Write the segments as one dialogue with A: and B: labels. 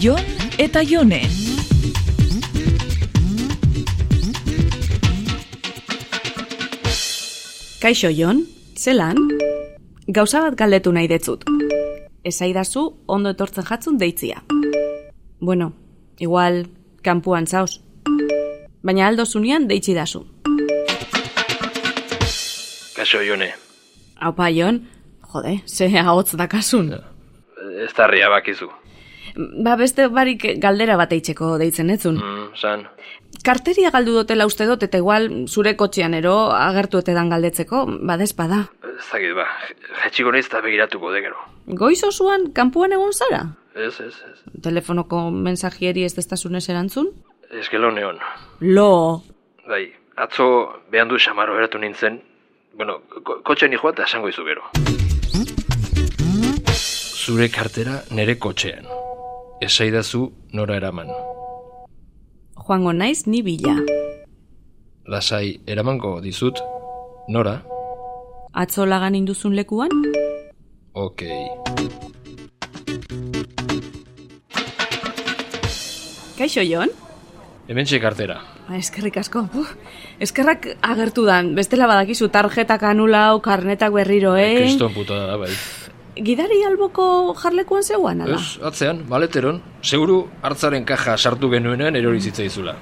A: Jon eta Jone.
B: Kaixo, Jon, zelan? Gauza bat galdetu nahi detzut. Esaidazu ondo etortzen jatzun deitzia. Bueno, igual kanpuan zauz. Baina aldo zunean deitzi dazu.
C: Kaso jone,
B: Haupa, Jon, jode, ze ahotz dakasun.
C: ez tarria bakizu.
B: Ba, beste barik galdera bat eitzeko deitzen etzun.
C: Mm, san,
B: Karteria galdu dotela uste dut eta igual zure kotxean ero agertu etedan galdetzeko, badespada.
C: ez dakit ba, jetxiko naiz eta begiratuko de gero.
B: Goiz osuan kanpuan egon zara?
C: Ez, ez, ez.
B: Telefonoko mensajieri ez destasunez erantzun?
C: Eskelo neon.
B: Lo,
C: Bai, atzo behan du xamaro eratu nintzen. Bueno, ko kotxean joa eta esango izu gero. Zure kartera nere kotxean. Esaidazu nora eraman.
B: joango naiz ni bila.
C: Lasai eramango dizut, nora?
B: Atzo lagan induzun lekuan?
C: Okei.
B: Kaixo, Jon?
C: Hemen kartera.
B: Ba, Eskerrik asko. Uf, eskerrak agertu dan, bestela badakizu tarjetak anulau, karnetak berriro,
C: Bai,
B: eh?
C: Kriston putada da, bai.
B: Gidari alboko jarlekuan zeuan, ala?
C: Ez, atzean, baleteron, seguru hartzaren kaja sartu genuenean erori zitzaizula.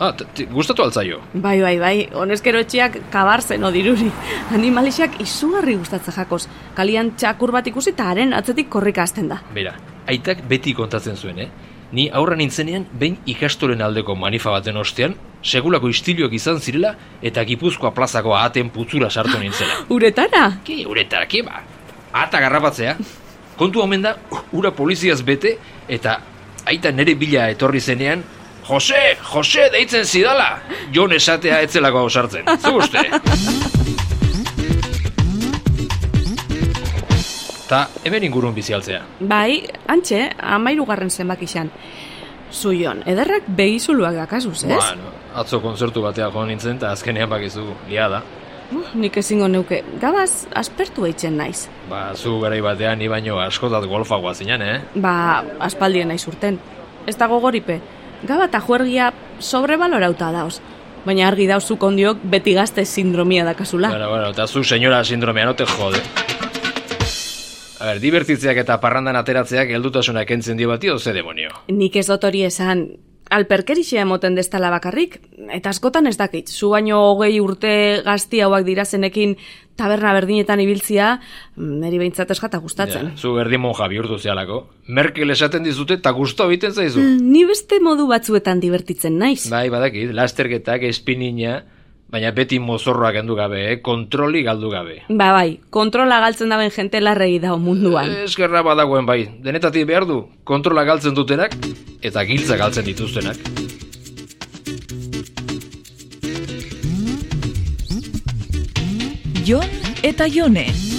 C: Ah, t- t- gustatu altzaio.
B: Bai, bai, bai, honezkero etxeak kabarzen odiruri. Animalixak izugarri gustatzen jakoz. Kalian txakur bat ikusi eta haren atzetik korrika hasten da.
C: Bera, aitak beti kontatzen zuen, eh? Ni aurra nintzenean, behin ikastolen aldeko manifa baten ostean, segulako istiluak izan zirela eta Gipuzkoa plazako ahaten putzura sartu nintzela.
B: Uretara?
C: Ki, uretara, ki, ba? Ahata garrapatzea. Kontu omen da, ura poliziaz bete eta aita nere bila etorri zenean, Jose, Jose deitzen zidala! Jon esatea etzelako ausartzen. Zu uste? Ta hemen ingurun bizi altzea.
B: Bai, antxe, amairugarren zenbak izan. Zuion, ederrak behizuluak dakazuz, ez?
C: Ba, no, atzo konzertu batea joan nintzen, eta azkenean bakizu, lia da.
B: Uh, nik ezingo neuke, gabaz aspertu eitzen naiz.
C: Ba, zu garai batean ni baino askotat golfagoa zinen, eh?
B: Ba, aspaldien naiz urten. Ez dago goripe, gaba eta juergia sobrebalorauta dauz. Baina argi dauzuk ondiok beti gazte sindromia dakazula.
C: Bueno, bueno, eta zu senyora sindromea, no te jode. A ber, divertitzeak eta parrandan ateratzeak heldutasuna kentzen dio bati, oze demonio.
B: Nik ez dot hori esan, alperkerixea emoten destala bakarrik, eta askotan ez dakit, zu baino hogei urte gazti hauak dira zenekin taberna berdinetan ibiltzia, niri behintzat eskata gustatzen.
C: Ja, zu erdi monja bihurtu zealako. Merkel esaten dizute eta gusto egiten zaizu.
B: Mm, Ni beste modu batzuetan divertitzen naiz.
C: Bai, badakit, lasterketak, espinina, baina beti mozorroak endu gabe, eh? kontroli galdu gabe.
B: Ba bai, kontrola galtzen daben jente larregi dao munduan.
C: Eskerra badagoen bai, denetatik behar du, kontrola galtzen dutenak eta giltza galtzen dituztenak.
A: Jon eta Jone.